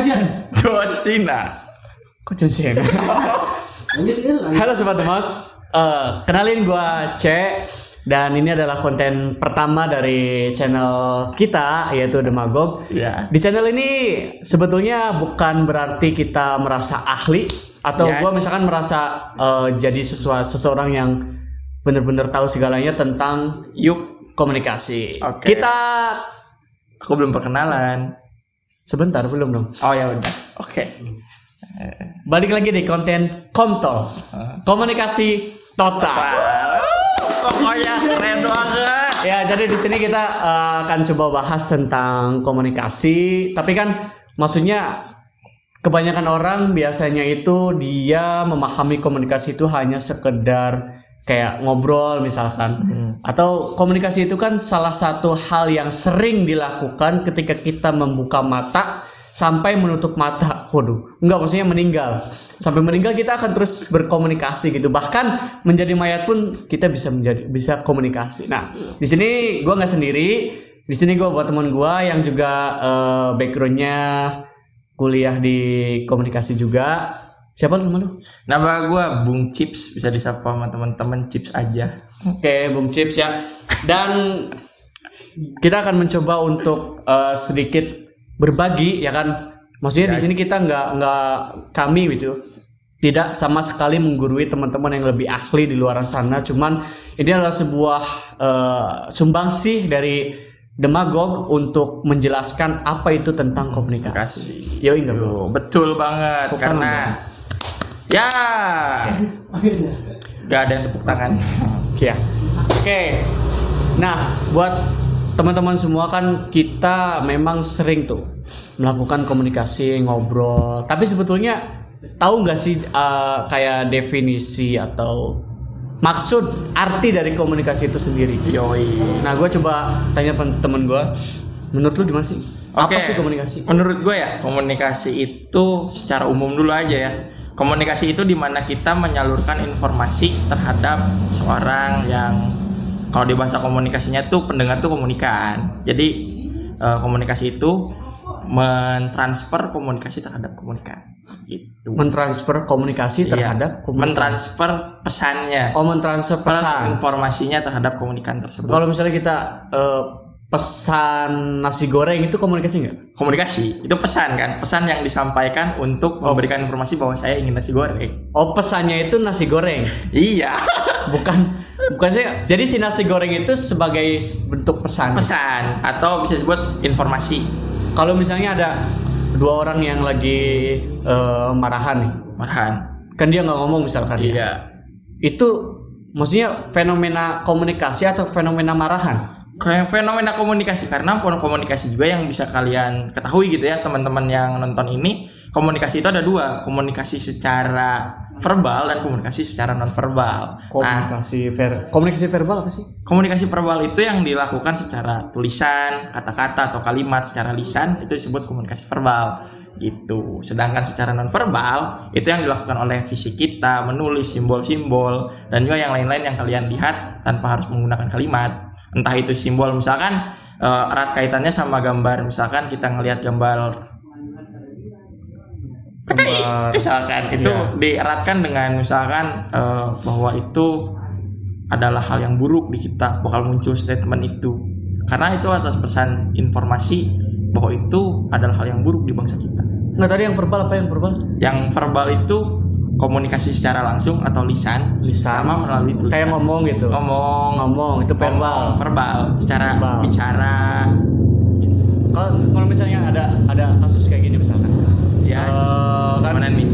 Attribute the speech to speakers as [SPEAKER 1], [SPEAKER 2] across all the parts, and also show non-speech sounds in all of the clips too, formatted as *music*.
[SPEAKER 1] Chan.
[SPEAKER 2] John Cena. Kok John Cena?
[SPEAKER 1] Nangis kan? nangis.
[SPEAKER 2] Halo Sobat Demos. Eh, kenalin gua C dan ini adalah konten pertama dari channel kita yaitu Demagog.
[SPEAKER 3] Ya.
[SPEAKER 2] Di channel ini sebetulnya bukan berarti kita merasa ahli atau
[SPEAKER 3] Ya.
[SPEAKER 2] gua misalkan merasa eh, jadi sesua- seseorang yang benar-benar tahu segalanya tentang
[SPEAKER 3] Yuk,
[SPEAKER 2] komunikasi.
[SPEAKER 3] Oke.
[SPEAKER 2] Kita
[SPEAKER 3] aku belum perkenalan.
[SPEAKER 2] sebentar belum dong.
[SPEAKER 3] Oh ya udah. Oke.
[SPEAKER 2] Balik lagi di konten Komtol. Komunikasi total.
[SPEAKER 3] Pokoknya Oh, ya, keren banget.
[SPEAKER 2] Ya, jadi di sini kita eh, akan coba bahas tentang komunikasi, tapi kan maksudnya kebanyakan orang biasanya itu dia memahami komunikasi itu hanya sekedar kayak ngobrol misalkan. Atau komunikasi itu kan salah satu hal yang sering dilakukan ketika kita membuka mata sampai menutup mata. Waduh, enggak maksudnya meninggal. Sampai meninggal kita akan terus berkomunikasi gitu. Bahkan menjadi mayat pun kita bisa menjadi bisa komunikasi. Nah, di sini gua nggak sendiri. Di sini gua buat teman gua yang juga eh, backgroundnya kuliah di komunikasi juga. Siapa lu nama lu?
[SPEAKER 3] Nama gua Bung Chips, bisa disapa sama teman-teman Chips aja.
[SPEAKER 2] Oke, Bung Chips ya. Dan kita akan mencoba untuk eh, sedikit berbagi ya kan. Maksudnya di sini kita nggak nggak kami gitu tidak sama sekali menggurui teman-teman yang lebih ahli di luar sana. Cuman ini adalah sebuah eh, sumbangsih dari demagog untuk menjelaskan apa itu tentang komunikasi. Yo enggak, Bro?
[SPEAKER 3] Yo, betul banget
[SPEAKER 2] Tepuk
[SPEAKER 3] karena
[SPEAKER 2] tangan
[SPEAKER 3] ya
[SPEAKER 1] Akhirnya.
[SPEAKER 3] gak ada yang tepuk tangan.
[SPEAKER 2] Oke ya. Oke. Nah, buat teman-teman semua kan kita memang sering tuh melakukan komunikasi, ngobrol. Tapi sebetulnya tahu nggak sih eh, kayak definisi atau maksud arti dari komunikasi itu sendiri?
[SPEAKER 3] Yoi.
[SPEAKER 2] Nah, gue coba tanya pen- temen gue, menurut lu gimana sih? Apa
[SPEAKER 3] Oke.
[SPEAKER 2] sih komunikasi?
[SPEAKER 3] Menurut gue ya, komunikasi itu secara umum dulu aja ya. Komunikasi itu dimana kita menyalurkan informasi terhadap seorang yang kalau di bahasa komunikasinya tuh pendengar tuh komunikan. Jadi eh, komunikasi itu mentransfer komunikasi terhadap komunikan. Gitu.
[SPEAKER 2] Mentransfer komunikasi
[SPEAKER 3] Iya.
[SPEAKER 2] terhadap komunikasi.
[SPEAKER 3] mentransfer pesannya,
[SPEAKER 2] Oh, mentransfer pesan. Oh,
[SPEAKER 3] informasinya terhadap komunikan tersebut.
[SPEAKER 2] Kalau misalnya kita eh, pesan nasi goreng itu komunikasi nggak?
[SPEAKER 3] Komunikasi itu pesan kan, pesan yang disampaikan untuk memberikan informasi bahwa saya ingin nasi goreng.
[SPEAKER 2] Oh pesannya itu nasi goreng,
[SPEAKER 3] *laughs* Iya,
[SPEAKER 2] bukan bukan saya. Jadi si nasi goreng itu sebagai bentuk pesan.
[SPEAKER 3] pesan atau bisa disebut informasi
[SPEAKER 2] Kalau misalnya ada dua orang yang lagi eh, marahan nih,
[SPEAKER 3] marahan.
[SPEAKER 2] kan dia nggak ngomong misalkan.
[SPEAKER 3] Iya.
[SPEAKER 2] ya. Itu maksudnya fenomena komunikasi atau fenomena marahan?
[SPEAKER 3] Kayak fenomena komunikasi karena form komunikasi juga yang bisa kalian ketahui gitu ya teman-teman yang nonton ini komunikasi itu ada dua komunikasi secara verbal dan komunikasi secara non verbal. Nah,
[SPEAKER 2] Komunikasi ver- komunikasi verbal apa sih?
[SPEAKER 3] komunikasi verbal itu yang dilakukan secara tulisan, kata-kata atau kalimat secara lisan itu disebut komunikasi verbal gitu. Sedangkan secara nonverbal itu yang dilakukan oleh fisik kita, menulis simbol-simbol dan juga yang lain-lain yang kalian lihat tanpa harus menggunakan kalimat. Entah itu simbol misalkan eh, erat kaitannya sama gambar misalkan kita ngelihat gambar
[SPEAKER 2] Gambar-
[SPEAKER 3] Kan misalkan itu
[SPEAKER 2] Iya.
[SPEAKER 3] dieratkan dengan misalkan eh, bahwa itu adalah hal yang buruk di kita bakal muncul statement itu karena itu atas pesan informasi bahwa itu adalah hal yang buruk di bangsa kita
[SPEAKER 2] Nggak tadi yang verbal apa yang verbal?
[SPEAKER 3] yang verbal itu komunikasi secara langsung atau lisan
[SPEAKER 2] Lisan.
[SPEAKER 3] sama melalui tulisan
[SPEAKER 2] Kayak ngomong gitu.
[SPEAKER 3] Oh. ngomong
[SPEAKER 2] Ngomong itu verbal.
[SPEAKER 3] ngomong verbal secara
[SPEAKER 2] Verbal.
[SPEAKER 3] bicara
[SPEAKER 2] Kalau kalau misalnya ada ada kasus kayak gini misalkan,
[SPEAKER 3] ya
[SPEAKER 2] Eh, kan
[SPEAKER 3] gimana nih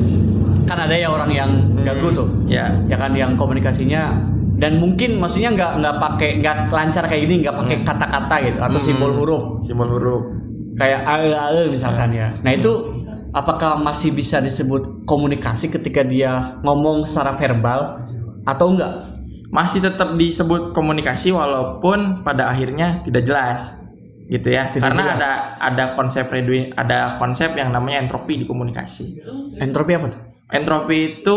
[SPEAKER 2] kan ada ya orang yang
[SPEAKER 3] Hmm.
[SPEAKER 2] gagu tuh
[SPEAKER 3] ya
[SPEAKER 2] ya kan yang komunikasinya dan mungkin maksudnya nggak nggak pakai nggak lancar kayak gini nggak pakai kata-kata gitu atau
[SPEAKER 3] Hmm.
[SPEAKER 2] simbol huruf
[SPEAKER 3] simbol huruf
[SPEAKER 2] kayak ae ae misalkan ya nah itu apakah masih bisa disebut komunikasi ketika dia ngomong secara verbal atau enggak
[SPEAKER 3] masih tetap disebut komunikasi walaupun pada akhirnya tidak jelas gitu ya
[SPEAKER 2] Tidak
[SPEAKER 3] karena
[SPEAKER 2] jelas.
[SPEAKER 3] ada ada konsep reduin ada konsep yang namanya entropi di komunikasi
[SPEAKER 2] entropi apa tuh?
[SPEAKER 3] entropi itu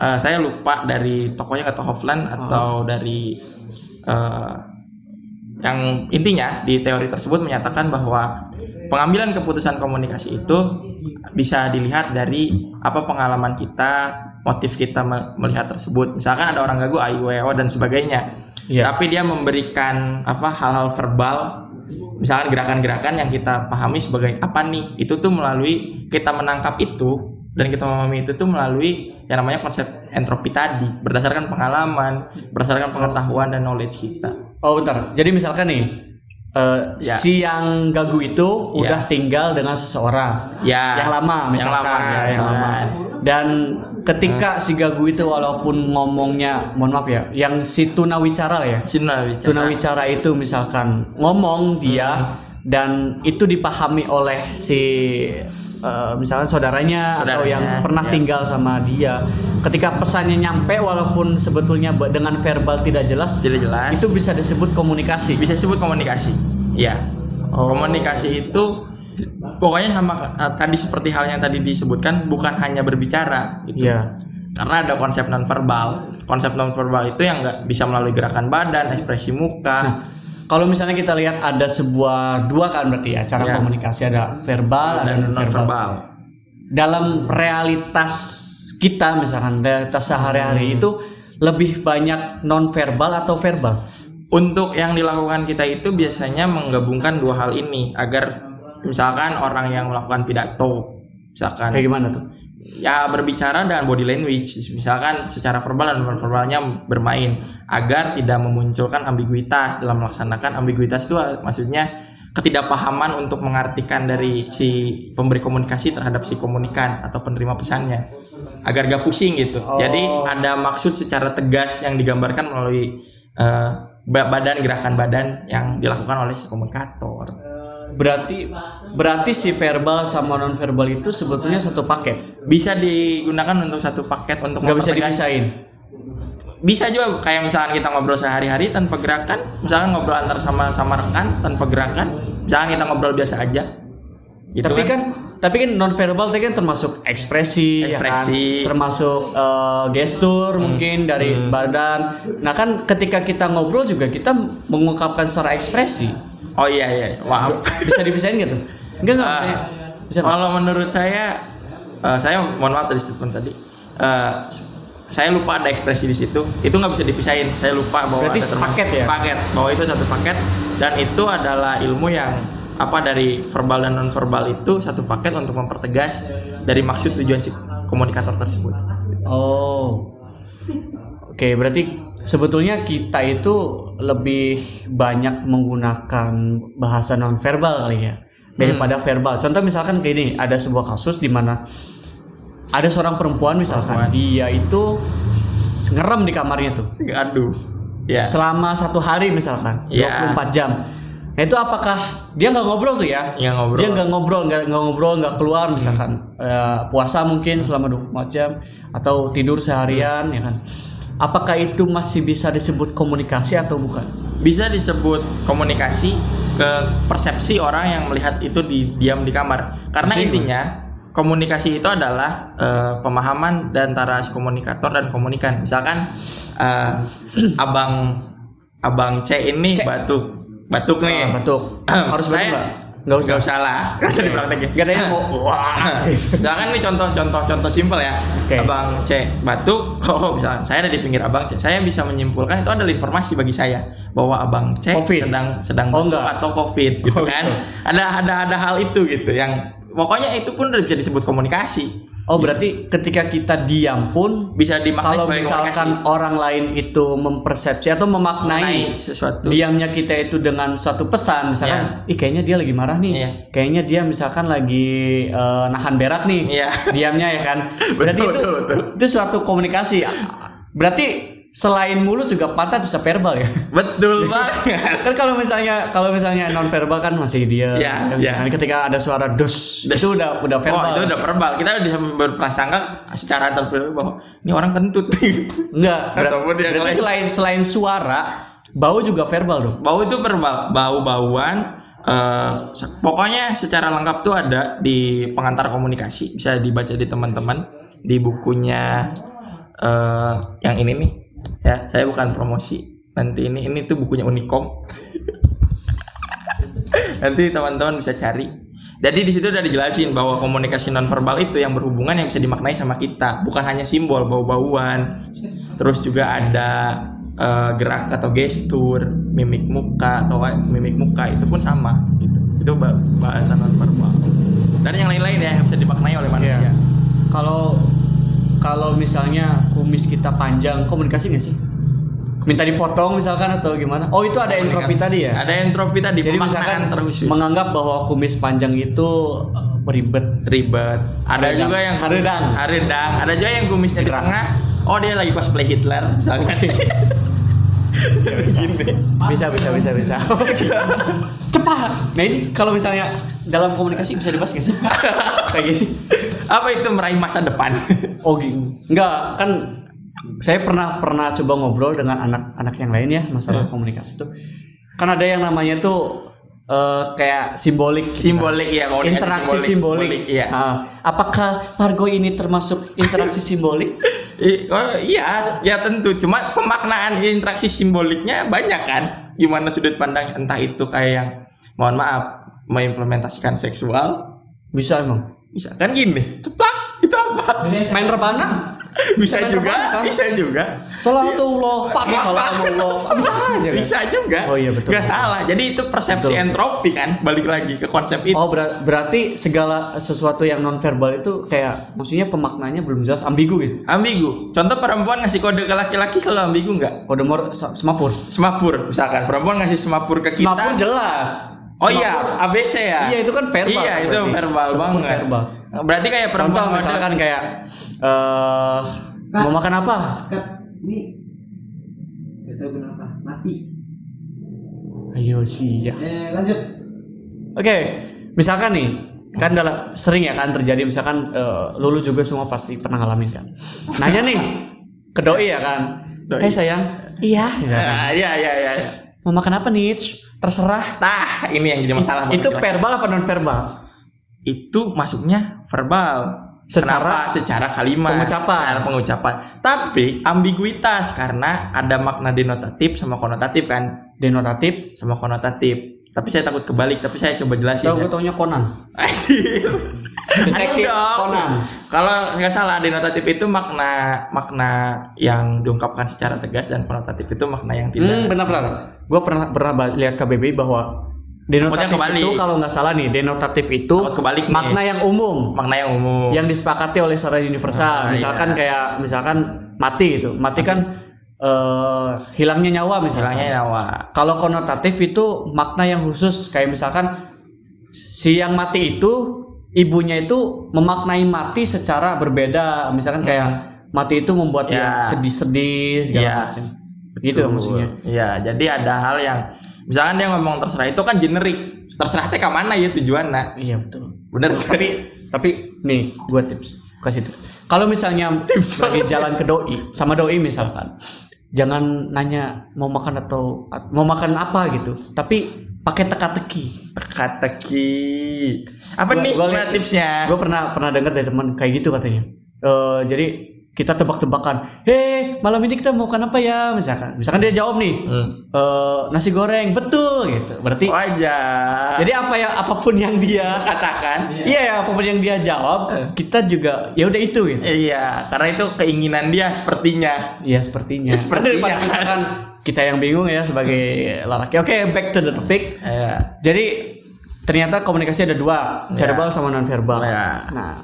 [SPEAKER 3] eh, saya lupa dari tokonya atau Hofland atau dari eh, yang intinya di teori tersebut menyatakan bahwa pengambilan keputusan komunikasi itu bisa dilihat dari apa pengalaman kita, motif kita me- melihat tersebut. Misalkan ada orang gagu AIWO dan sebagainya.
[SPEAKER 2] Iya.
[SPEAKER 3] Tapi dia memberikan apa hal-hal verbal misalkan gerakan-gerakan yang kita pahami sebagai apa nih? Itu tuh melalui kita menangkap itu dan kita memahami itu tuh melalui yang namanya konsep entropi tadi berdasarkan pengalaman, berdasarkan pengetahuan dan knowledge kita.
[SPEAKER 2] Oh bentar. Jadi misalkan nih eh,
[SPEAKER 3] Ya.
[SPEAKER 2] si yang gagu itu
[SPEAKER 3] Ya.
[SPEAKER 2] udah tinggal dengan seseorang
[SPEAKER 3] Ya.
[SPEAKER 2] yang lama
[SPEAKER 3] yang
[SPEAKER 2] misalkan
[SPEAKER 3] lama,
[SPEAKER 2] ya, yang lama.
[SPEAKER 3] misalkan. Ah.
[SPEAKER 2] Dan ketika si gagu itu walaupun ngomongnya mohon maaf ya, yang si tunawicara lah ya.
[SPEAKER 3] Sinawi.
[SPEAKER 2] Tunawicara itu misalkan
[SPEAKER 3] Ah.
[SPEAKER 2] ngomong dia dan itu dipahami oleh si eh, misalkan saudaranya, atau
[SPEAKER 3] Saudaranya,
[SPEAKER 2] yang pernah
[SPEAKER 3] ya.
[SPEAKER 2] tinggal sama dia. Ketika pesannya nyampe walaupun sebetulnya be- dengan verbal tidak jelas,
[SPEAKER 3] Jadi jelas.
[SPEAKER 2] itu bisa disebut komunikasi.
[SPEAKER 3] bisa disebut komunikasi. Ya.
[SPEAKER 2] Oh.
[SPEAKER 3] Komunikasi itu pokoknya sama eh, tadi seperti hal yang tadi disebutkan bukan hanya berbicara gitu.
[SPEAKER 2] Iya.
[SPEAKER 3] Karena ada konsep nonverbal. Konsep nonverbal itu yang nggak bisa melalui gerakan badan, ekspresi muka,
[SPEAKER 2] Kalau misalnya kita lihat ada sebuah dua kan berarti ya cara
[SPEAKER 3] Iya.
[SPEAKER 2] komunikasi ada verbal ada
[SPEAKER 3] dan
[SPEAKER 2] non verbal.
[SPEAKER 3] nonverbal.
[SPEAKER 2] Dalam realitas kita misalkan realitas
[SPEAKER 3] Hmm.
[SPEAKER 2] sehari-hari itu lebih banyak non verbal atau verbal.
[SPEAKER 3] Untuk yang dilakukan kita itu biasanya menggabungkan dua hal ini agar misalkan orang yang melakukan pidato misalkan
[SPEAKER 2] Kayak gimana tuh?
[SPEAKER 3] ya berbicara dengan body language misalkan secara verbal dan non-verbalnya bermain agar tidak memunculkan ambiguitas dalam melaksanakan ambiguitas itu maksudnya ketidakpahaman untuk mengartikan dari si pemberi komunikasi terhadap si komunikan atau penerima pesannya agar gak pusing gitu
[SPEAKER 2] Oh.
[SPEAKER 3] jadi ada maksud secara tegas yang digambarkan melalui eh, ba- badan gerakan badan yang dilakukan oleh si komunikator
[SPEAKER 2] Berarti berarti si verbal sama non verbal itu sebetulnya satu paket.
[SPEAKER 3] bisa digunakan untuk satu paket untuk
[SPEAKER 2] nggak bisa
[SPEAKER 3] mempertegas
[SPEAKER 2] dipisahin.
[SPEAKER 3] bisa juga kayak misalkan kita ngobrol sehari-hari tanpa gerakan misalkan ngobrol antar sama sama rekan tanpa gerakan misalkan kita ngobrol biasa aja gitu
[SPEAKER 2] tapi kan, tapi kan non verbal tadi kan termasuk ekspresi, ya kan?
[SPEAKER 3] Ekspresi. Hmm.
[SPEAKER 2] termasuk eh, gestur mungkin dari badan. Nah kan ketika kita ngobrol juga kita mengungkapkan secara ekspresi.
[SPEAKER 3] oh iya iya maaf
[SPEAKER 2] Bisa dipisahin gitu? Enggak enggak.
[SPEAKER 3] Ah,
[SPEAKER 2] bisa. bisa.
[SPEAKER 3] kalau menurut saya eh, saya mohon maaf dari statement tadi Eh, s- saya lupa ada ekspresi di situ itu nggak bisa dipisahin saya lupa bahwa ada
[SPEAKER 2] Berarti
[SPEAKER 3] term-
[SPEAKER 2] sepaket ya?
[SPEAKER 3] sepaket bahwa itu satu paket dan itu adalah ilmu yang apa dari verbal dan non verbal itu satu paket untuk mempertegas dari maksud tujuan si komunikator tersebut
[SPEAKER 2] Oh. Oke, berarti sebetulnya kita itu lebih banyak menggunakan bahasa nonverbal kali ya daripada
[SPEAKER 3] Hmm.
[SPEAKER 2] verbal. Contoh misalkan kayak ini, ada sebuah kasus di mana ada seorang perempuan misalkan
[SPEAKER 3] Perempuan.
[SPEAKER 2] dia itu s- ngerem di kamarnya tuh
[SPEAKER 3] Aduh. Ya.
[SPEAKER 2] selama satu hari misalkan
[SPEAKER 3] Ya.
[SPEAKER 2] 24 jam. Nah itu apakah dia nggak ngobrol tuh ya?
[SPEAKER 3] Yang ngobrol.
[SPEAKER 2] dia nggak ngobrol nggak nggak ngobrol nggak keluar misalkan Eh, puasa mungkin selama 24 jam atau tidur seharian ya kan apakah itu masih bisa disebut komunikasi atau bukan
[SPEAKER 3] Bisa disebut komunikasi ke persepsi orang yang melihat itu di diam di kamar. Karena
[SPEAKER 2] Maksudnya
[SPEAKER 3] intinya komunikasi itu adalah eh, pemahaman dan antara si komunikator dan komunikan. Misalkan eh, *clears throat* abang abang C ini
[SPEAKER 2] C.
[SPEAKER 3] batuk. Batuk nih.
[SPEAKER 2] Ah,
[SPEAKER 3] *clears throat*
[SPEAKER 2] batuk harus
[SPEAKER 3] Oh, iya. Saya-
[SPEAKER 2] batuk nggak nggak usah Iya,
[SPEAKER 3] Nggak usah lah. Nggak usah dipraktekin.
[SPEAKER 2] nggak ada yang
[SPEAKER 3] *clears throat*
[SPEAKER 2] mau wah
[SPEAKER 3] *laughs* Misalkan nih contoh-contoh contoh simpel ya.
[SPEAKER 2] Oke.
[SPEAKER 3] Abang C batuk, *laughs* oh misalkan saya ada di pinggir Abang C. Saya bisa menyimpulkan itu adalah informasi bagi saya bahwa Abang C
[SPEAKER 2] Covid.
[SPEAKER 3] sedang sedang
[SPEAKER 2] Oh,
[SPEAKER 3] batuk
[SPEAKER 2] enggak.
[SPEAKER 3] atau Covid gitu
[SPEAKER 2] Oh,
[SPEAKER 3] kan.
[SPEAKER 2] gitu.
[SPEAKER 3] Ada ada ada hal itu gitu yang pokoknya itu pun udah bisa disebut komunikasi.
[SPEAKER 2] oh berarti ketika kita diam pun
[SPEAKER 3] Bisa dimaknai
[SPEAKER 2] kalau
[SPEAKER 3] sebagai
[SPEAKER 2] misalkan orang lain itu mempersepsi atau
[SPEAKER 3] komunikasi.
[SPEAKER 2] memaknai
[SPEAKER 3] Naik sesuatu.
[SPEAKER 2] diamnya kita itu dengan suatu pesan misalkan ih kayaknya dia lagi marah nih
[SPEAKER 3] Iya.
[SPEAKER 2] kayaknya dia misalkan lagi eh, nahan berak nih
[SPEAKER 3] Iya.
[SPEAKER 2] *laughs* diamnya ya
[SPEAKER 3] *laughs*
[SPEAKER 2] kan berarti
[SPEAKER 3] Betul,
[SPEAKER 2] itu
[SPEAKER 3] betul, betul.
[SPEAKER 2] itu suatu komunikasi berarti selain mulut juga patah bisa verbal ya *laughs*
[SPEAKER 3] Betul banget.
[SPEAKER 2] kan kalau misalnya kalau misalnya non verbal kan masih dia
[SPEAKER 3] Iya,
[SPEAKER 2] kan?
[SPEAKER 3] iya.
[SPEAKER 2] Nah, ketika ada suara dus,
[SPEAKER 3] Dus.
[SPEAKER 2] itu udah udah verbal
[SPEAKER 3] Oh, itu udah verbal. Kita udah berprasangka secara terpilih bahwa ini orang kentut. *laughs*
[SPEAKER 2] enggak ber-
[SPEAKER 3] Ataupun yang
[SPEAKER 2] berarti
[SPEAKER 3] lain.
[SPEAKER 2] selain selain suara bau juga verbal dong
[SPEAKER 3] Bau itu verbal, bau-bauan. eh, se- pokoknya secara lengkap tuh ada di pengantar komunikasi. Bisa dibaca di teman-teman di bukunya eh yang ini nih. Ya, saya bukan promosi. Nanti ini ini tuh bukunya Unicom. Nanti teman-teman bisa cari. Jadi di situ udah dijelasin bahwa komunikasi nonverbal itu yang berhubungan yang bisa dimaknai sama kita, bukan hanya simbol bau-bauan. Terus juga ada eh, gerak atau gestur, mimik muka atau mimik muka itu pun sama. Gitu. Itu bah- bahasa nonverbal. Dan yang lain-lain ya yang bisa dimaknai oleh manusia.
[SPEAKER 2] Iya. Kalau kalau misalnya kumis kita panjang, komunikasi nggak sih? Minta dipotong misalkan atau gimana? Oh itu ada entropi tadi ya?
[SPEAKER 3] Iya, Ada entropi tadi
[SPEAKER 2] Jadi
[SPEAKER 3] pemaknaan
[SPEAKER 2] misalkan
[SPEAKER 3] terus
[SPEAKER 2] menganggap bahwa kumis panjang itu eh, beribet.
[SPEAKER 3] ribet. Ada
[SPEAKER 2] Haredang.
[SPEAKER 3] juga yang
[SPEAKER 2] Haredang.
[SPEAKER 3] haredang. Ada juga yang kumisnya di
[SPEAKER 2] Gerak.
[SPEAKER 3] tengah. Oh dia lagi cosplay Hitler misalnya. Gini.
[SPEAKER 2] Bisa bisa bisa bisa. *laughs* Cepat. Nah ini kalau misalnya dalam komunikasi bisa dibahas nggak sih? *laughs* Kayak gini.
[SPEAKER 3] Apa itu meraih masa
[SPEAKER 2] *laughs*
[SPEAKER 3] depan?
[SPEAKER 2] Oh gini. Enggak kan saya pernah pernah coba ngobrol dengan anak-anak yang lain ya masalah komunikasi itu. Kan ada yang namanya tuh eh, kayak simbolik. gitu.
[SPEAKER 3] simbolik ya komunikasi
[SPEAKER 2] interaksi simbolik.
[SPEAKER 3] Iya.
[SPEAKER 2] Ah, apakah Margo ini termasuk interaksi *laughs* simbolik?
[SPEAKER 3] I- oh, iya, ya tentu. Cuma pemaknaan interaksi simboliknya banyak kan. Gimana sudut pandang entah itu kayak yang mohon maaf mengimplementasikan seksual
[SPEAKER 2] Bisa emang.
[SPEAKER 3] bisa kan gini ceplak itu apa
[SPEAKER 2] Main rebana?
[SPEAKER 3] bisa
[SPEAKER 2] Main
[SPEAKER 3] juga
[SPEAKER 2] terbang, kan?
[SPEAKER 3] bisa juga
[SPEAKER 2] Salatullah, Pak
[SPEAKER 3] Pak.
[SPEAKER 2] Salatullah. Iya. Bisa aja kan?
[SPEAKER 3] *laughs* bisa juga
[SPEAKER 2] Oh iya, betul.
[SPEAKER 3] Nggak salah jadi itu persepsi
[SPEAKER 2] Betul.
[SPEAKER 3] entropi kan balik lagi ke konsep itu
[SPEAKER 2] Oh ber- berarti segala sesuatu yang non verbal itu kayak maksudnya pemaknanya belum jelas ambigu gitu.
[SPEAKER 3] ambigu contoh perempuan ngasih kode ke laki-laki selalu ambigu nggak
[SPEAKER 2] Kode mor sa- semapur.
[SPEAKER 3] semapur misalkan perempuan ngasih semapur ke kita
[SPEAKER 2] Semapur jelas.
[SPEAKER 3] oh
[SPEAKER 2] Semapur-
[SPEAKER 3] iya ABC ya
[SPEAKER 2] Iya itu kan verbal.
[SPEAKER 3] iya itu
[SPEAKER 2] berarti.
[SPEAKER 3] verbal
[SPEAKER 2] Semapur
[SPEAKER 3] banget
[SPEAKER 2] verbal.
[SPEAKER 3] berarti kayak
[SPEAKER 2] Contoh
[SPEAKER 3] perempuan kode-
[SPEAKER 2] misalkan kayak eh mau makan apa?
[SPEAKER 1] Kat, ini Gak tahu kenapa Mati
[SPEAKER 2] Ayo siap.
[SPEAKER 1] Eh lanjut
[SPEAKER 2] Oke, misalkan nih kan dalam sering ya kan terjadi misalkan eh, lulu juga semua pasti pernah ngalamin kan. Nanya nih ke doi ya kan.
[SPEAKER 3] Doi.
[SPEAKER 2] Eh sayang. Iya. misalkan.
[SPEAKER 3] Ah, iya iya iya iya.
[SPEAKER 2] Mau makan apa nih? Ch? Terserah.
[SPEAKER 3] tah ini yang jadi masalah buat
[SPEAKER 2] itu
[SPEAKER 3] laki-laki.
[SPEAKER 2] verbal apa non verbal?
[SPEAKER 3] itu masuknya verbal Kenapa?
[SPEAKER 2] Secara-
[SPEAKER 3] secara kalimat
[SPEAKER 2] Pengucapan.
[SPEAKER 3] secara pengucapan tapi ambiguitas karena ada makna denotatif sama konotatif kan
[SPEAKER 2] Denotatif.
[SPEAKER 3] sama konotatif tapi saya takut kebalik tapi saya coba jelasin
[SPEAKER 2] Tahu gue
[SPEAKER 3] ya.
[SPEAKER 2] taunya Conan.
[SPEAKER 3] Anjir. Aduh
[SPEAKER 2] Detektif
[SPEAKER 3] dong.
[SPEAKER 2] Conan.
[SPEAKER 3] kalau nggak salah denotatif itu makna makna yang diungkapkan secara tegas dan konotatif itu makna yang
[SPEAKER 2] Hmm,
[SPEAKER 3] tidak
[SPEAKER 2] benar-benar. Gue pernah pernah ba- lihat KBBI bahwa
[SPEAKER 3] Takutnya
[SPEAKER 2] denotatif
[SPEAKER 3] kebalik.
[SPEAKER 2] itu kalau nggak salah nih denotatif itu
[SPEAKER 3] Takut kebalik nih.
[SPEAKER 2] makna yang umum.
[SPEAKER 3] makna yang umum
[SPEAKER 2] yang disepakati oleh secara
[SPEAKER 3] Ah,
[SPEAKER 2] universal.
[SPEAKER 3] iya.
[SPEAKER 2] misalkan kayak misalkan mati itu, mati kan eh, hilangnya nyawa misalnya.
[SPEAKER 3] bilangnya ya, nyawa
[SPEAKER 2] Kalau konotatif itu makna yang khusus kayak misalkan si yang mati itu ibunya itu memaknai mati secara berbeda. Misalkan kayak
[SPEAKER 3] Hmm.
[SPEAKER 2] mati itu membuat dia
[SPEAKER 3] Ya.
[SPEAKER 2] sedih-sedih segala
[SPEAKER 3] Ya.
[SPEAKER 2] macam. Gitu
[SPEAKER 3] Betul.
[SPEAKER 2] maksudnya.
[SPEAKER 3] Iya, jadi ada hal yang misalkan dia ngomong terserah itu kan generik. Terserah teh ke mana ya tujuannya?
[SPEAKER 2] Iya betul.
[SPEAKER 3] Bener
[SPEAKER 2] Tapi tapi nih gua tips kasih tips. Kalau misalnya lagi jalan ke doi sama doi misalkan, jangan nanya mau makan atau mau makan apa gitu, tapi pakai teka-teki.
[SPEAKER 3] teka-teki. Apa
[SPEAKER 2] Gua-
[SPEAKER 3] nih
[SPEAKER 2] gua
[SPEAKER 3] gua,
[SPEAKER 2] liat-
[SPEAKER 3] tipsnya?
[SPEAKER 2] Gue pernah pernah dengar dari teman kayak gitu katanya. Eh, jadi kita tebak-tebakan, hei malam ini kita mau makan apa ya misalkan, misalkan dia jawab nih
[SPEAKER 3] Hmm.
[SPEAKER 2] eh, nasi goreng betul gitu, berarti
[SPEAKER 3] Oh, Wajah.
[SPEAKER 2] jadi apa ya apapun yang dia
[SPEAKER 3] katakan.
[SPEAKER 2] Iya ya, apapun yang dia jawab, kita juga ya udah itu gitu.
[SPEAKER 3] Iya, karena itu keinginan dia sepertinya.
[SPEAKER 2] Iya sepertinya.
[SPEAKER 3] Ya, sepertinya.
[SPEAKER 2] Daripada misalkan kita yang bingung ya sebagai lelaki. Oke, back to the topic.
[SPEAKER 3] Iya.
[SPEAKER 2] Jadi ternyata komunikasi ada dua,
[SPEAKER 3] Ya.
[SPEAKER 2] verbal sama non verbal.
[SPEAKER 3] Ya.
[SPEAKER 2] Nah,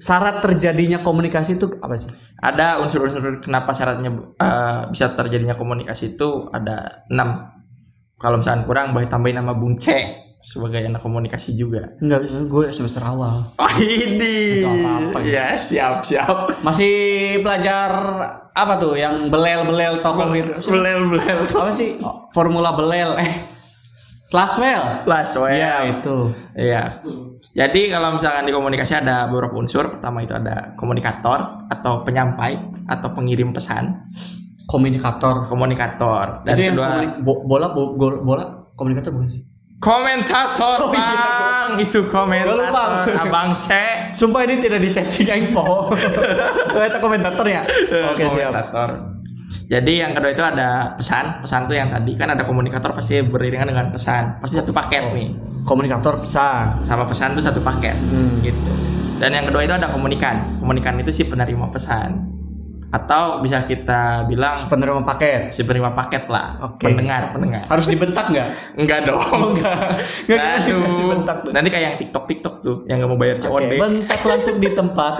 [SPEAKER 2] syarat terjadinya komunikasi itu apa sih?
[SPEAKER 3] Ada unsur-unsur kenapa syaratnya eh, bisa terjadinya komunikasi itu ada 6. Kalau misalkan kurang, boleh tambahin nama Bung C sebagai anak komunikasi juga.
[SPEAKER 2] Enggak, gue semester awal.
[SPEAKER 3] Oh ini,
[SPEAKER 2] Atau apa-apa gitu.
[SPEAKER 3] ya siap siap.
[SPEAKER 2] Masih belajar apa tuh yang belel-belel tokoh itu?
[SPEAKER 3] Belel belel.
[SPEAKER 2] Apa sih? Oh, Formula belel eh. Laswell.
[SPEAKER 3] Plus well.
[SPEAKER 2] Iya, itu.
[SPEAKER 3] Iya. Jadi kalau misalkan di komunikasi ada beberapa unsur. Pertama itu ada komunikator atau penyampai atau pengirim pesan.
[SPEAKER 2] Komunikator.
[SPEAKER 3] Komunikator. Dan
[SPEAKER 2] itu yang
[SPEAKER 3] kedua
[SPEAKER 2] komuni- bo- bola bo- gol- bola komunikator bukan sih?
[SPEAKER 3] komentator bang. Itu
[SPEAKER 2] Gua lupa.
[SPEAKER 3] komentator. Abang C.
[SPEAKER 2] Sumpah ini tidak disetting
[SPEAKER 3] *laughs*
[SPEAKER 2] info. oh, itu komentator ya. Oke
[SPEAKER 3] Eh,
[SPEAKER 2] siap.
[SPEAKER 3] Komentator. Jadi yang kedua itu ada pesan. Pesan tuh yang tadi kan ada komunikator pasti beriringan dengan pesan. Pasti satu paket nih.
[SPEAKER 2] komunikator pesan.
[SPEAKER 3] sama pesan itu satu paket
[SPEAKER 2] Hmm.
[SPEAKER 3] gitu dan yang kedua itu ada komunikan komunikan itu si penerima pesan atau bisa kita bilang
[SPEAKER 2] Penerima paket.
[SPEAKER 3] si penerima paket lah
[SPEAKER 2] Oke.
[SPEAKER 3] pendengar pendengar
[SPEAKER 2] Harus dibentak
[SPEAKER 3] *laughs*
[SPEAKER 2] nggak?
[SPEAKER 3] enggak dong
[SPEAKER 2] enggak. Enggak kita
[SPEAKER 3] Aduh.
[SPEAKER 2] dikasih bentak. dong.
[SPEAKER 3] nanti kayak yang tiktok tiktok tuh yang nggak mau bayar COD
[SPEAKER 2] Oke, bentak langsung di
[SPEAKER 3] *laughs*
[SPEAKER 2] tempat.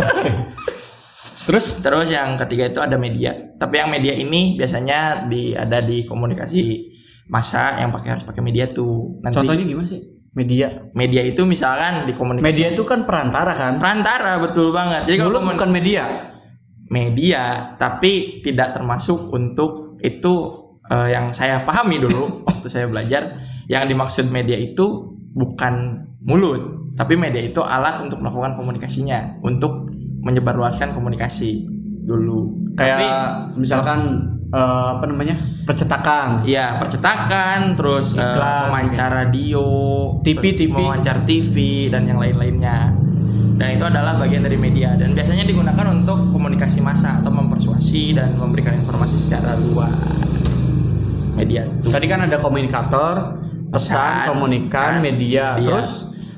[SPEAKER 2] Terus
[SPEAKER 3] terus yang ketiga itu ada media tapi yang media ini biasanya di ada di komunikasi masa yang pakai harus pakai media tuh nanti
[SPEAKER 2] contohnya gimana sih? Media.
[SPEAKER 3] media itu misalkan di komunikasi
[SPEAKER 2] Media itu kan perantara kan?
[SPEAKER 3] perantara betul banget jadi kalau
[SPEAKER 2] Mulut
[SPEAKER 3] komun-
[SPEAKER 2] bukan media.
[SPEAKER 3] media tapi tidak termasuk untuk itu eh, yang saya pahami
[SPEAKER 2] *laughs*
[SPEAKER 3] dulu waktu saya belajar yang dimaksud media itu bukan mulut tapi media itu alat untuk melakukan komunikasinya untuk menyebarluaskan komunikasi dulu
[SPEAKER 2] Kayak
[SPEAKER 3] tapi
[SPEAKER 2] misalkan eh, apa namanya? Percetakan.
[SPEAKER 3] ya percetakan terus eh,
[SPEAKER 2] Iklan, gitu.
[SPEAKER 3] pemancar radio
[SPEAKER 2] TV,
[SPEAKER 3] terus
[SPEAKER 2] TV.
[SPEAKER 3] pemancar TV dan yang lain-lainnya dan itu adalah bagian dari media dan biasanya digunakan untuk komunikasi massa atau mempersuasi dan memberikan informasi secara luas media itu.
[SPEAKER 2] Tadi kan ada komunikator,
[SPEAKER 3] Pesan,
[SPEAKER 2] pesan, komunikan,
[SPEAKER 3] kan,
[SPEAKER 2] media,
[SPEAKER 3] media.
[SPEAKER 2] terus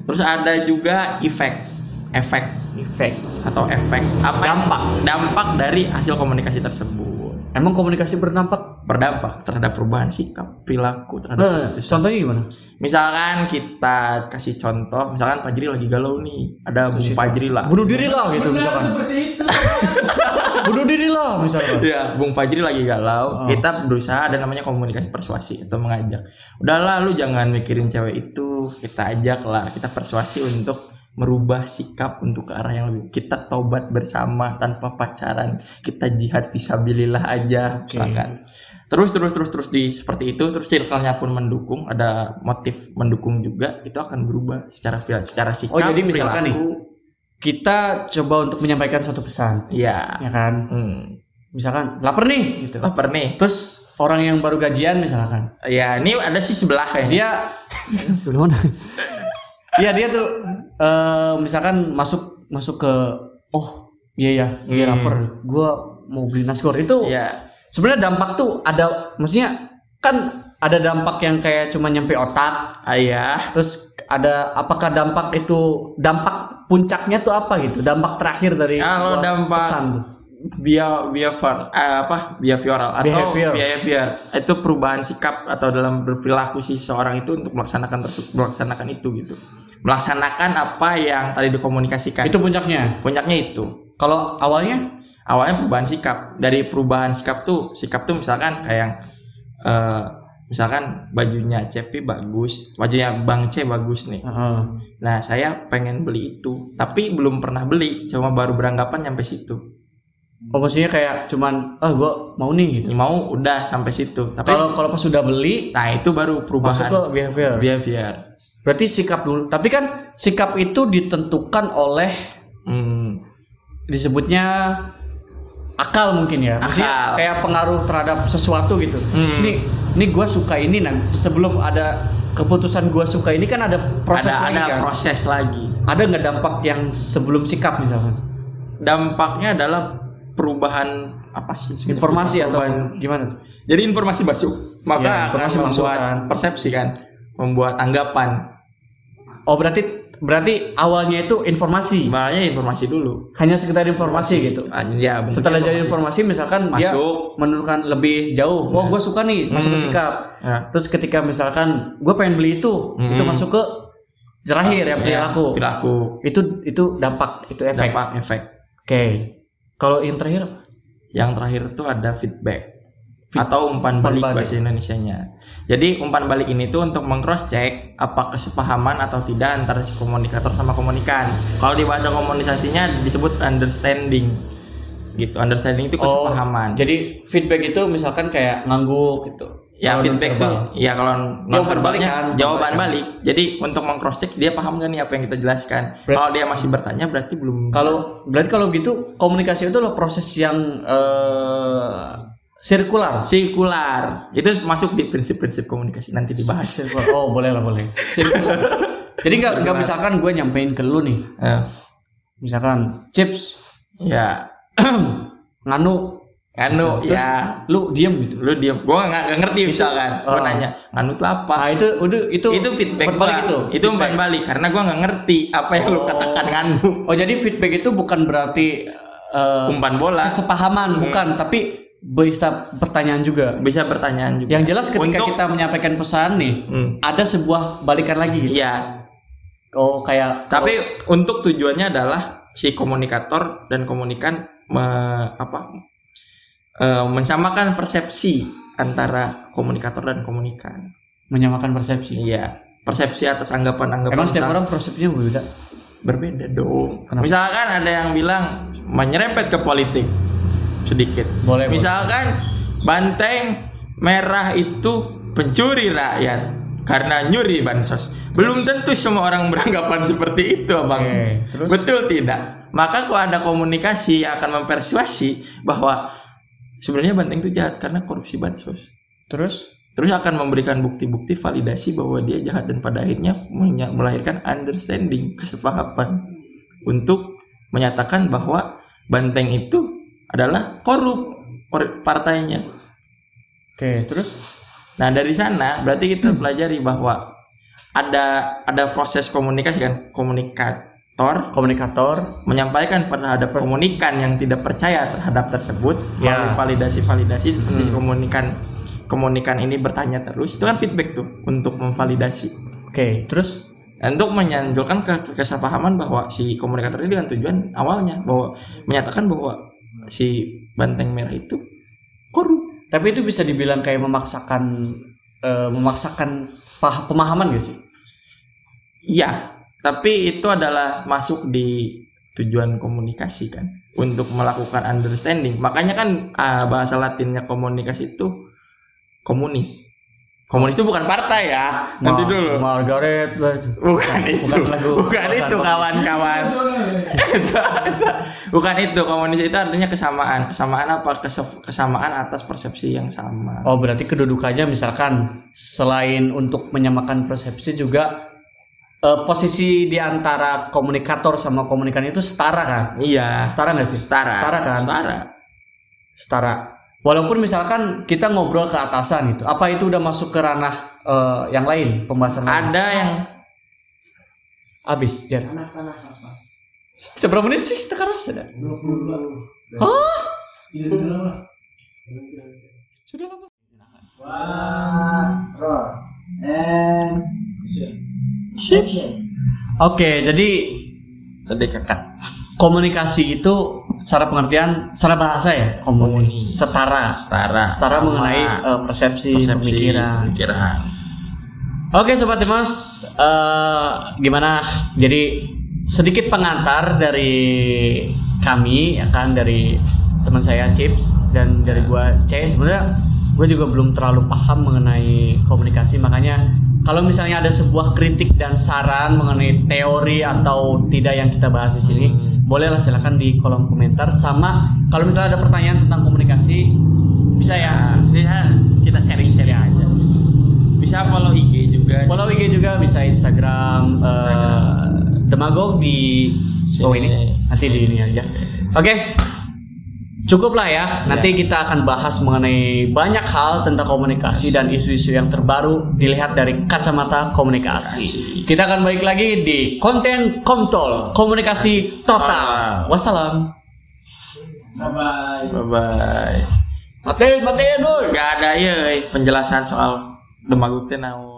[SPEAKER 3] terus ada juga efek efek
[SPEAKER 2] efek.
[SPEAKER 3] atau efek apa dampak dampak dari hasil komunikasi tersebut
[SPEAKER 2] Emang komunikasi berdampak?
[SPEAKER 3] berdampak terhadap perubahan sikap perilaku terhadap
[SPEAKER 2] Eh,
[SPEAKER 3] keputusan.
[SPEAKER 2] contohnya gimana?
[SPEAKER 3] Misalkan kita kasih contoh, misalkan Fajri lagi galau nih, ada Bung Fajri lah.
[SPEAKER 2] Bunuh diri lah gitu
[SPEAKER 1] Benar
[SPEAKER 2] misalkan.
[SPEAKER 1] seperti itu.
[SPEAKER 2] Bunuh diri lah misalkan.
[SPEAKER 3] Ya, Bung Fajri lagi galau,
[SPEAKER 2] Oh.
[SPEAKER 3] kita berusaha ada namanya komunikasi persuasi atau mengajak. Udahlah lu jangan mikirin cewek itu, kita ajak lah, kita persuasi untuk merubah sikap untuk ke arah yang lebih kita tobat bersama tanpa pacaran kita jihad visabilillah aja
[SPEAKER 2] Oke.
[SPEAKER 3] misalkan terus terus terus terus di seperti itu terus circle-nya pun mendukung ada motif mendukung juga itu akan berubah secara secara sikap
[SPEAKER 2] Oh, jadi misalkan
[SPEAKER 3] perilaku.
[SPEAKER 2] Kita coba untuk menyampaikan suatu pesan,
[SPEAKER 3] Iya.
[SPEAKER 2] ya kan?
[SPEAKER 3] Hmm.
[SPEAKER 2] Misalkan lapar nih gitu.
[SPEAKER 3] Lapar nih.
[SPEAKER 2] Terus orang yang baru gajian misalkan,
[SPEAKER 3] Ya, ini ada sih sebelah kayaknya.
[SPEAKER 2] dia gimana? Iya dia tuh eh, misalkan masuk masuk ke oh iya ya dia
[SPEAKER 3] Hmm.
[SPEAKER 2] lapar, gua mau beli nasi goreng itu
[SPEAKER 3] Iya.
[SPEAKER 2] sebenarnya dampak tuh ada maksudnya kan ada dampak yang kayak cuma nyampe otak
[SPEAKER 3] Ah, Iya.
[SPEAKER 2] terus ada apakah dampak itu dampak puncaknya tuh apa gitu dampak terakhir dari
[SPEAKER 3] Kalau
[SPEAKER 2] sebuah
[SPEAKER 3] dampak-
[SPEAKER 2] pesan tuh?
[SPEAKER 3] Bio behavior eh, apa? Behavioral atau
[SPEAKER 2] Behavior.
[SPEAKER 3] behavior. Itu perubahan sikap atau dalam berperilaku si seorang itu untuk melaksanakan terse- melaksanakan itu gitu. Melaksanakan apa yang tadi dikomunikasikan.
[SPEAKER 2] itu puncaknya
[SPEAKER 3] Puncaknya itu.
[SPEAKER 2] kalau awalnya
[SPEAKER 3] Awalnya perubahan sikap. Dari perubahan sikap tuh, sikap tuh misalkan kayak yang eh, misalkan bajunya Cepi bagus, bajunya Bang C bagus nih.
[SPEAKER 2] Heeh.
[SPEAKER 3] Nah, saya pengen beli itu, tapi belum pernah beli, cuma baru beranggapan nyampe situ.
[SPEAKER 2] oh, maksudnya kayak cuman ah gua mau nih gitu
[SPEAKER 3] Ini Iya. Mau udah sampai situ. Tapi
[SPEAKER 2] kalau kalau pas sudah beli
[SPEAKER 3] nah itu baru
[SPEAKER 2] masuk ke
[SPEAKER 3] perubahan
[SPEAKER 2] behavior
[SPEAKER 3] behavior.
[SPEAKER 2] berarti sikap dulu tapi kan sikap itu ditentukan oleh
[SPEAKER 3] Hmm,
[SPEAKER 2] disebutnya akal mungkin ya Maksudnya
[SPEAKER 3] Akal.
[SPEAKER 2] kayak pengaruh terhadap sesuatu gitu
[SPEAKER 3] Hmm.
[SPEAKER 2] ini ini gue suka ini nah sebelum ada keputusan gue suka ini kan ada proses
[SPEAKER 3] ada
[SPEAKER 2] lagi
[SPEAKER 3] ada
[SPEAKER 2] kan
[SPEAKER 3] proses lagi.
[SPEAKER 2] ada nggak dampak yang sebelum sikap misalkan
[SPEAKER 3] Dampaknya adalah perubahan apa sih? sebenarnya?
[SPEAKER 2] informasi atau
[SPEAKER 3] Perubahan.
[SPEAKER 2] gimana
[SPEAKER 3] jadi informasi masuk, maka
[SPEAKER 2] Ya,
[SPEAKER 3] informasi
[SPEAKER 2] informasi
[SPEAKER 3] akan
[SPEAKER 2] masuk,
[SPEAKER 3] membuat
[SPEAKER 2] kan.
[SPEAKER 3] persepsi kan, membuat anggapan.
[SPEAKER 2] oh berarti berarti awalnya itu informasi
[SPEAKER 3] Makanya ya informasi dulu.
[SPEAKER 2] hanya sekedar informasi gitu
[SPEAKER 3] Ah, Ya, bentuknya
[SPEAKER 2] setelah jadi informasi misalkan dia
[SPEAKER 3] Masuk.
[SPEAKER 2] menurunkan lebih jauh oh gue suka nih masuk ke
[SPEAKER 3] Hmm.
[SPEAKER 2] sikap
[SPEAKER 3] Ya.
[SPEAKER 2] terus ketika misalkan gue pengen beli itu
[SPEAKER 3] Hmm.
[SPEAKER 2] itu masuk ke terakhir ya perilaku
[SPEAKER 3] Perilaku.
[SPEAKER 2] itu itu dampak itu efek oke
[SPEAKER 3] Iya. Dampak efek.
[SPEAKER 2] kalau yang terakhir apa?
[SPEAKER 3] yang terakhir itu ada feedback
[SPEAKER 2] Feed-
[SPEAKER 3] atau umpan
[SPEAKER 2] umpan
[SPEAKER 3] balik,
[SPEAKER 2] balik.
[SPEAKER 3] bahasa Indonesianya. Jadi umpan balik ini tuh untuk mengcross check apa kesepahaman atau tidak antara si komunikator sama komunikan. Kalau di bahasa komunikasinya disebut understanding. Gitu, understanding itu kesepahaman.
[SPEAKER 2] Oh. jadi feedback itu misalkan kayak ngangguk gitu
[SPEAKER 3] ya
[SPEAKER 2] Kalau
[SPEAKER 3] feedback
[SPEAKER 2] nonverbal.
[SPEAKER 3] tuh ya kalau
[SPEAKER 2] Jawaban
[SPEAKER 3] nonverbalnya
[SPEAKER 2] balik kan,
[SPEAKER 3] jawaban,
[SPEAKER 2] umpan balik.
[SPEAKER 3] balik. Jadi untuk mengcross check dia paham nggak nih apa yang kita jelaskan.
[SPEAKER 2] Berarti-
[SPEAKER 3] kalau dia masih bertanya berarti belum
[SPEAKER 2] kalau berarti kalau gitu komunikasi itu adalah proses yang eh, sirkular
[SPEAKER 3] sirkular. Itu masuk di prinsip-prinsip komunikasi nanti dibahas.
[SPEAKER 2] Sirkular. oh boleh lah boleh
[SPEAKER 3] *laughs*
[SPEAKER 2] sirkular jadi nggak nggak misalkan gue nyampein ke lu nih
[SPEAKER 3] Eh,
[SPEAKER 2] *clears throat* misalkan chips
[SPEAKER 3] ya
[SPEAKER 2] nganu
[SPEAKER 3] Anu
[SPEAKER 2] Terus
[SPEAKER 3] ya
[SPEAKER 2] lu diem gitu.
[SPEAKER 3] lu diam gua nggak nggak ngerti misalkan gua
[SPEAKER 2] oh.
[SPEAKER 3] nanya anu tuh apa
[SPEAKER 2] Ah itu itu itu,
[SPEAKER 3] itu feedback
[SPEAKER 2] berbalik
[SPEAKER 3] gua.
[SPEAKER 2] itu.
[SPEAKER 3] itu umpan balik karena gua nggak ngerti apa yang lu
[SPEAKER 2] Oh.
[SPEAKER 3] katakan nganu
[SPEAKER 2] Oh jadi feedback itu bukan berarti eh,
[SPEAKER 3] umpan bola Hmm.
[SPEAKER 2] kesepahaman bukan, tapi bisa pertanyaan juga.
[SPEAKER 3] bisa pertanyaan juga
[SPEAKER 2] Yang jelas ketika
[SPEAKER 3] Untuk-
[SPEAKER 2] kita menyampaikan pesan nih,
[SPEAKER 3] Hmm.
[SPEAKER 2] ada sebuah balikan lagi gitu.
[SPEAKER 3] iya
[SPEAKER 2] Oh kayak
[SPEAKER 3] tapi untuk tujuannya adalah si komunikator dan komunikan me- apa eh, mensamakan persepsi antara komunikator dan komunikan
[SPEAKER 2] menyamakan persepsi.
[SPEAKER 3] iya persepsi atas anggapan-anggapan
[SPEAKER 2] Emang setiap
[SPEAKER 3] salah.
[SPEAKER 2] orang persepsinya berbeda.
[SPEAKER 3] berbeda dong.
[SPEAKER 2] Kenapa?
[SPEAKER 3] Misalkan ada yang bilang menyerempet ke politik sedikit.
[SPEAKER 2] Boleh, boleh.
[SPEAKER 3] Misalkan banteng merah itu pencuri rakyat karena nyuri bansos. Belum tentu semua orang beranggapan *laughs* seperti itu, Bang.
[SPEAKER 2] Oke, terus?
[SPEAKER 3] Betul tidak? Maka kalau ada komunikasi yang akan mempersuasi bahwa sebenarnya banteng itu jahat karena korupsi bansos
[SPEAKER 2] Terus
[SPEAKER 3] terus akan memberikan bukti-bukti validasi bahwa dia jahat dan pada akhirnya menya- melahirkan understanding kesepahaman untuk menyatakan bahwa Banteng itu adalah korup or- partainya.
[SPEAKER 2] Oke, terus
[SPEAKER 3] Nah dari sana berarti
[SPEAKER 2] *clears throat*
[SPEAKER 3] kita pelajari bahwa ada ada proses komunikasi kan komunikator
[SPEAKER 2] komunikator
[SPEAKER 3] menyampaikan terhadap komunikan yang tidak percaya terhadap tersebut
[SPEAKER 2] Ya.
[SPEAKER 3] melalui validasi-validasi pasti si
[SPEAKER 2] Hmm.
[SPEAKER 3] komunikan komunikan ini bertanya terus itu kan feedback tuh untuk memvalidasi
[SPEAKER 2] Oke, terus
[SPEAKER 3] Dan untuk menyanjungkan ke kesepahaman bahwa si komunikator ini dengan tujuan awalnya bahwa menyatakan bahwa si banteng merah itu korup
[SPEAKER 2] tapi itu bisa dibilang kayak memaksakan eh, memaksakan pah- pemahaman gak sih?
[SPEAKER 3] iya tapi itu adalah masuk di tujuan komunikasi kan untuk melakukan understanding makanya kan ah, bahasa latinnya komunikasi itu komunis komunis itu bukan partai ya nanti
[SPEAKER 2] Ma-
[SPEAKER 3] dulu
[SPEAKER 2] Margaret Bukan
[SPEAKER 3] bukan itu
[SPEAKER 2] lagu.
[SPEAKER 3] bukan itu kawan-kawan *laughs* Bukan itu, komunis itu artinya kesamaan. Kesamaan apa? Kesef- Kesamaan atas persepsi yang sama.
[SPEAKER 2] Oh, berarti kedudukannya misalkan selain untuk menyamakan persepsi juga eh, posisi di antara komunikator sama komunikan itu setara kan?
[SPEAKER 3] Iya,
[SPEAKER 2] Setara nggak sih?
[SPEAKER 3] setara.
[SPEAKER 2] Setara kan?
[SPEAKER 3] Setara.
[SPEAKER 2] Setara. Walaupun misalkan kita ngobrol ke atasan gitu, apa itu udah masuk ke ranah eh, yang lain pembahasan lain?
[SPEAKER 3] Ada yang
[SPEAKER 2] Abis, Jar.
[SPEAKER 1] Panas-panas.
[SPEAKER 2] Seberapa menit sih kita keras sudah?
[SPEAKER 1] 22.
[SPEAKER 2] Hah?
[SPEAKER 1] Iya, bener lah.
[SPEAKER 2] Sudah lama.
[SPEAKER 1] One, roll, and action.
[SPEAKER 2] Oke, jadi
[SPEAKER 3] tadi kakak.
[SPEAKER 2] komunikasi itu secara pengertian, secara bahasa ya, komunis,
[SPEAKER 3] Komunis.
[SPEAKER 2] setara.
[SPEAKER 3] Setara.
[SPEAKER 2] setara
[SPEAKER 3] Sama.
[SPEAKER 2] mengenai eh, persepsi,
[SPEAKER 3] persepsi
[SPEAKER 2] pemikiran.
[SPEAKER 3] pemikiran.
[SPEAKER 2] Oke sobat Dimas, eh, gimana? Jadi sedikit pengantar dari kami, ya kan dari teman saya Chips dan
[SPEAKER 3] Ya.
[SPEAKER 2] dari gua C. Sebenarnya gue juga belum terlalu paham mengenai komunikasi, makanya kalau misalnya ada sebuah kritik dan saran mengenai teori atau tidak yang kita bahas di sini,
[SPEAKER 3] Hmm.
[SPEAKER 2] bolehlah silakan di kolom komentar. Sama kalau misalnya ada pertanyaan tentang komunikasi, bisa ya.
[SPEAKER 3] Nah, Bisa kita sharing-sharing aja. Bisa follow IG juga.
[SPEAKER 2] Follow IG juga bisa Instagram, eh, Demagog di oh ini nanti di ini aja. Oke. Cukup lah ya. Nanti kita akan bahas mengenai banyak hal tentang komunikasi dan isu-isu yang terbaru dilihat dari kacamata komunikasi. Kita akan balik lagi di konten Komtol, komunikasi total.
[SPEAKER 3] Total.
[SPEAKER 2] Wassalam.
[SPEAKER 1] Bye-bye.
[SPEAKER 3] Bye bye.
[SPEAKER 2] Matiin, matiin, Boy.
[SPEAKER 3] iya, eh, Gak ada ya penjelasan soal demagog teh naon.